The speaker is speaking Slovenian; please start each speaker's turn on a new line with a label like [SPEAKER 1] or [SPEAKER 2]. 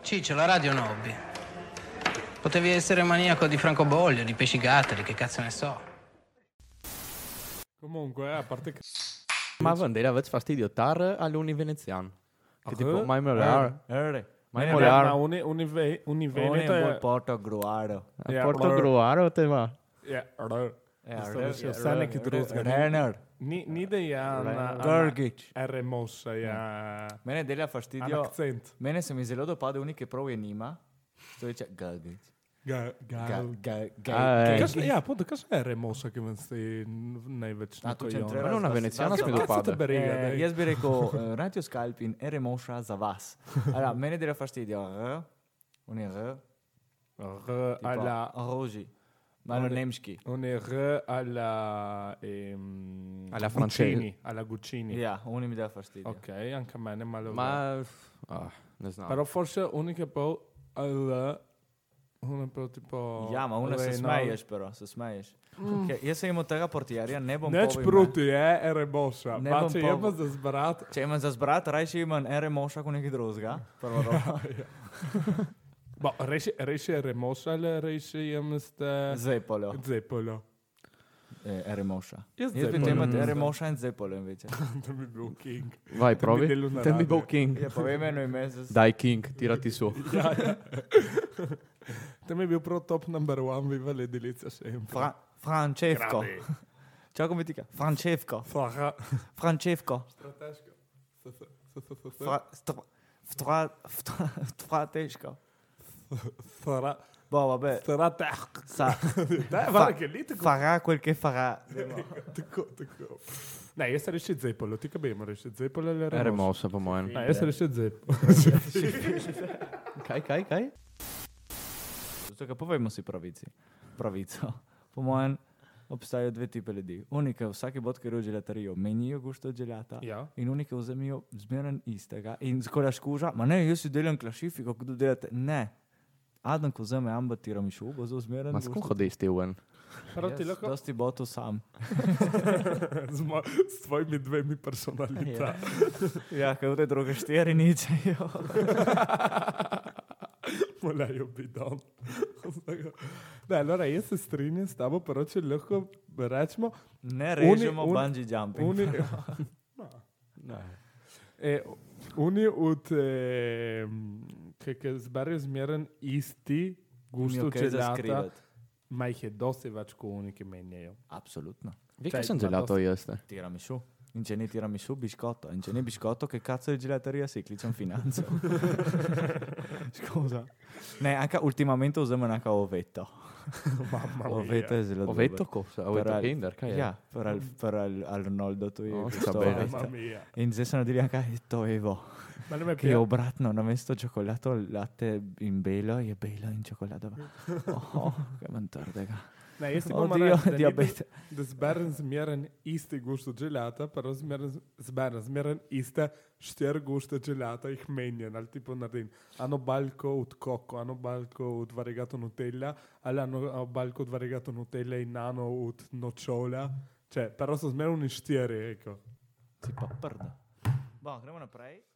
[SPEAKER 1] Ciccio, la radio è un hobby. Potevi essere maniaco di francobollo, di pesci gatteri, che cazzo ne so.
[SPEAKER 2] Comunque, eh, a parte che...
[SPEAKER 3] Ma Vandera avete fastidio tar all'Uni veneziano. Che
[SPEAKER 2] Ah,
[SPEAKER 3] tipo,
[SPEAKER 2] eh?
[SPEAKER 3] ma morar, ma
[SPEAKER 2] Eh, ma
[SPEAKER 3] morar,
[SPEAKER 2] un, un, inve- un inveneto è-
[SPEAKER 4] un porto gruaro.
[SPEAKER 2] yeah,
[SPEAKER 3] porto
[SPEAKER 2] allora-
[SPEAKER 3] gruaro te va.
[SPEAKER 2] yeah, allora.
[SPEAKER 4] Eh,
[SPEAKER 2] Stavamo su Sonic Drozgan.
[SPEAKER 4] Renner.
[SPEAKER 2] Ni- ni da ja na-
[SPEAKER 4] Gorgic.
[SPEAKER 2] na- R mossa ja
[SPEAKER 4] Mene dela
[SPEAKER 2] an
[SPEAKER 4] fastidio.
[SPEAKER 2] akcent.
[SPEAKER 4] Mene se mi zelo dopade unik, ki prav je nima. To je Gorgic.
[SPEAKER 2] Ga, ga.
[SPEAKER 3] A, eh.
[SPEAKER 2] Kas, ja, appunto, cos'è R mossa che mi stai največ
[SPEAKER 4] A,
[SPEAKER 2] na
[SPEAKER 4] tu
[SPEAKER 2] coglione?
[SPEAKER 4] c'entrerà
[SPEAKER 3] Ma non
[SPEAKER 4] sta-
[SPEAKER 3] una veneziana,
[SPEAKER 4] sta-
[SPEAKER 3] scusa,
[SPEAKER 2] Cazzo
[SPEAKER 3] padre.
[SPEAKER 2] te beriga,
[SPEAKER 4] Eh,
[SPEAKER 2] dai.
[SPEAKER 4] jaz bi rekel, eh, Radio Skalpin, ere moša za vas. Allora, mene dela fastidio. R, un je R,
[SPEAKER 2] R
[SPEAKER 4] tipo
[SPEAKER 2] alla...
[SPEAKER 4] roži, malo
[SPEAKER 2] Ore-
[SPEAKER 4] nemški.
[SPEAKER 2] Un è R alla... ehm,
[SPEAKER 3] Alla
[SPEAKER 2] Guccini,
[SPEAKER 3] francese.
[SPEAKER 2] Alla Guccini.
[SPEAKER 4] Ja, oni mi dela fastidio.
[SPEAKER 2] Ok, anche a me, ne male.
[SPEAKER 3] Ma ah, ne znam.
[SPEAKER 2] eh. Però forse unica po' al... Una po' tipo...
[SPEAKER 4] Ja, ma una se
[SPEAKER 2] Renault.
[SPEAKER 4] smeješ, pero, se smeješ. Ker Jaz sem imel tega portierja, ne bom
[SPEAKER 2] Neč
[SPEAKER 4] povedal.
[SPEAKER 2] proti, eh, R mossa.
[SPEAKER 4] Ne
[SPEAKER 2] Ma
[SPEAKER 4] bom
[SPEAKER 2] če je pa
[SPEAKER 4] povedal.
[SPEAKER 2] za zbrat,
[SPEAKER 4] Če imam za zbrat, rajši imam ere moša kot nekaj drugega. Prvo,
[SPEAKER 2] Bo, res, je- res je remoš ali res je jem ste
[SPEAKER 4] zdaj poljo.
[SPEAKER 2] zepoljo.
[SPEAKER 4] Ere moša.
[SPEAKER 2] Jaz
[SPEAKER 4] Jaz bi
[SPEAKER 2] zepoljo
[SPEAKER 4] te imel
[SPEAKER 2] mislim.
[SPEAKER 4] ere moša in zdaj poljo, veš.
[SPEAKER 2] To bi bil king.
[SPEAKER 3] Vai, provi.
[SPEAKER 2] delo na
[SPEAKER 3] Te mi
[SPEAKER 2] radio.
[SPEAKER 3] bo King.
[SPEAKER 4] Ja, povej meni ime. zdaj se-
[SPEAKER 3] Dai King, tirati su.
[SPEAKER 2] Ja, ja. Tam je bil prav top number one, vi vele delica še jim.
[SPEAKER 4] Fra Francesco. Čakaj, mi tika. Francesco.
[SPEAKER 2] Faha.
[SPEAKER 4] Francesco.
[SPEAKER 2] Strateško. S- s- s- s- s-
[SPEAKER 4] Fra- stra- stra- stra- Strateško.
[SPEAKER 2] stra-
[SPEAKER 4] Bo, vabbè.
[SPEAKER 2] Strateško.
[SPEAKER 4] Sa.
[SPEAKER 2] Da, vale, che lì tako.
[SPEAKER 4] Farà quel che farà.
[SPEAKER 2] Tako, tako. Ne, jaz sem rešil zepoljo, ti kaj bi imel rešil zepoljo ali remoš?
[SPEAKER 3] Remo se po mojem.
[SPEAKER 2] Ne, jaz sem rešil zepoljo.
[SPEAKER 3] Kaj, kaj, kaj?
[SPEAKER 4] Zato, ker Torej, povejmo si pravici. pravico. Po mojem, obstajajo dve tipe ljudi. Unika, vsaki bod, ki roji želatarijo, menijo gusto od želata.
[SPEAKER 2] Ja.
[SPEAKER 4] In unika vzemijo zmeren istega. In skoraj škuža, ma ne, jaz si delam klašifiko, kdo delate. Ne. Adam, ko vzame amba, tiram šubo, zelo zmeren.
[SPEAKER 3] Ma s kom hodiš ti ven?
[SPEAKER 2] Prav ti lahko
[SPEAKER 4] Dosti botu sam.
[SPEAKER 2] z, mo- s tvojimi dvemi personalitami.
[SPEAKER 4] Ja, kaj vte druge štiri nič. jo.
[SPEAKER 2] Morajo biti dol. Ne, allora jaz se strinjam s tabo, pa če lahko rečemo,
[SPEAKER 4] Ne
[SPEAKER 2] Uni-
[SPEAKER 4] režemo
[SPEAKER 2] uni-
[SPEAKER 4] bungee jumping.
[SPEAKER 2] uni, No. e, uni od, eh, ki ki zberejo zmeren isti, gusto
[SPEAKER 4] Unijo kaj za
[SPEAKER 2] čelata,
[SPEAKER 4] skrivati.
[SPEAKER 2] ma jih je dosti več kot oni, ki menjajo.
[SPEAKER 4] Absolutno.
[SPEAKER 3] Vi
[SPEAKER 2] Čaj,
[SPEAKER 3] kaj sem
[SPEAKER 2] pa
[SPEAKER 3] gelato jeste?
[SPEAKER 4] Tiramisu. In če ne tiramisu, biškoto. In če ne biškoto, che cazzo di gelateria si kličem financo. Scusa. Ne, anche ultimamente usamo anche ovetto.
[SPEAKER 2] Mamma
[SPEAKER 4] Ovetto è zelo
[SPEAKER 3] Ovetto cosa? Ovetto
[SPEAKER 4] al-
[SPEAKER 3] Kinder, kaj je?
[SPEAKER 4] Ja, per, al, per al, Arnoldo tu je
[SPEAKER 3] No,
[SPEAKER 4] gusto
[SPEAKER 3] vabbè.
[SPEAKER 4] ovetto.
[SPEAKER 2] Mamma mia.
[SPEAKER 4] In zdaj so naredili anche to evo.
[SPEAKER 2] Ma ne me
[SPEAKER 4] Che je
[SPEAKER 2] piace.
[SPEAKER 4] obratno, namesto cioccolato latte in belo je belo in cioccolato. Oh, che mantardega.
[SPEAKER 2] Ne, jaz si bom
[SPEAKER 4] Oddio,
[SPEAKER 2] rekel, da, ni-
[SPEAKER 4] diabete.
[SPEAKER 2] da zberem zmeren isti gusto čelata, pa zberem zmeren iste štiri guste čelata, jih menjam, ali tipo naredim. Ano balko od koko, ano balko od variegato Nutella, ali ano balko od variegato Nutella e in ano od nočola. Cioè, però so zmerno ni štiri, ecco.
[SPEAKER 4] Si pa prda. Bon, gremo naprej.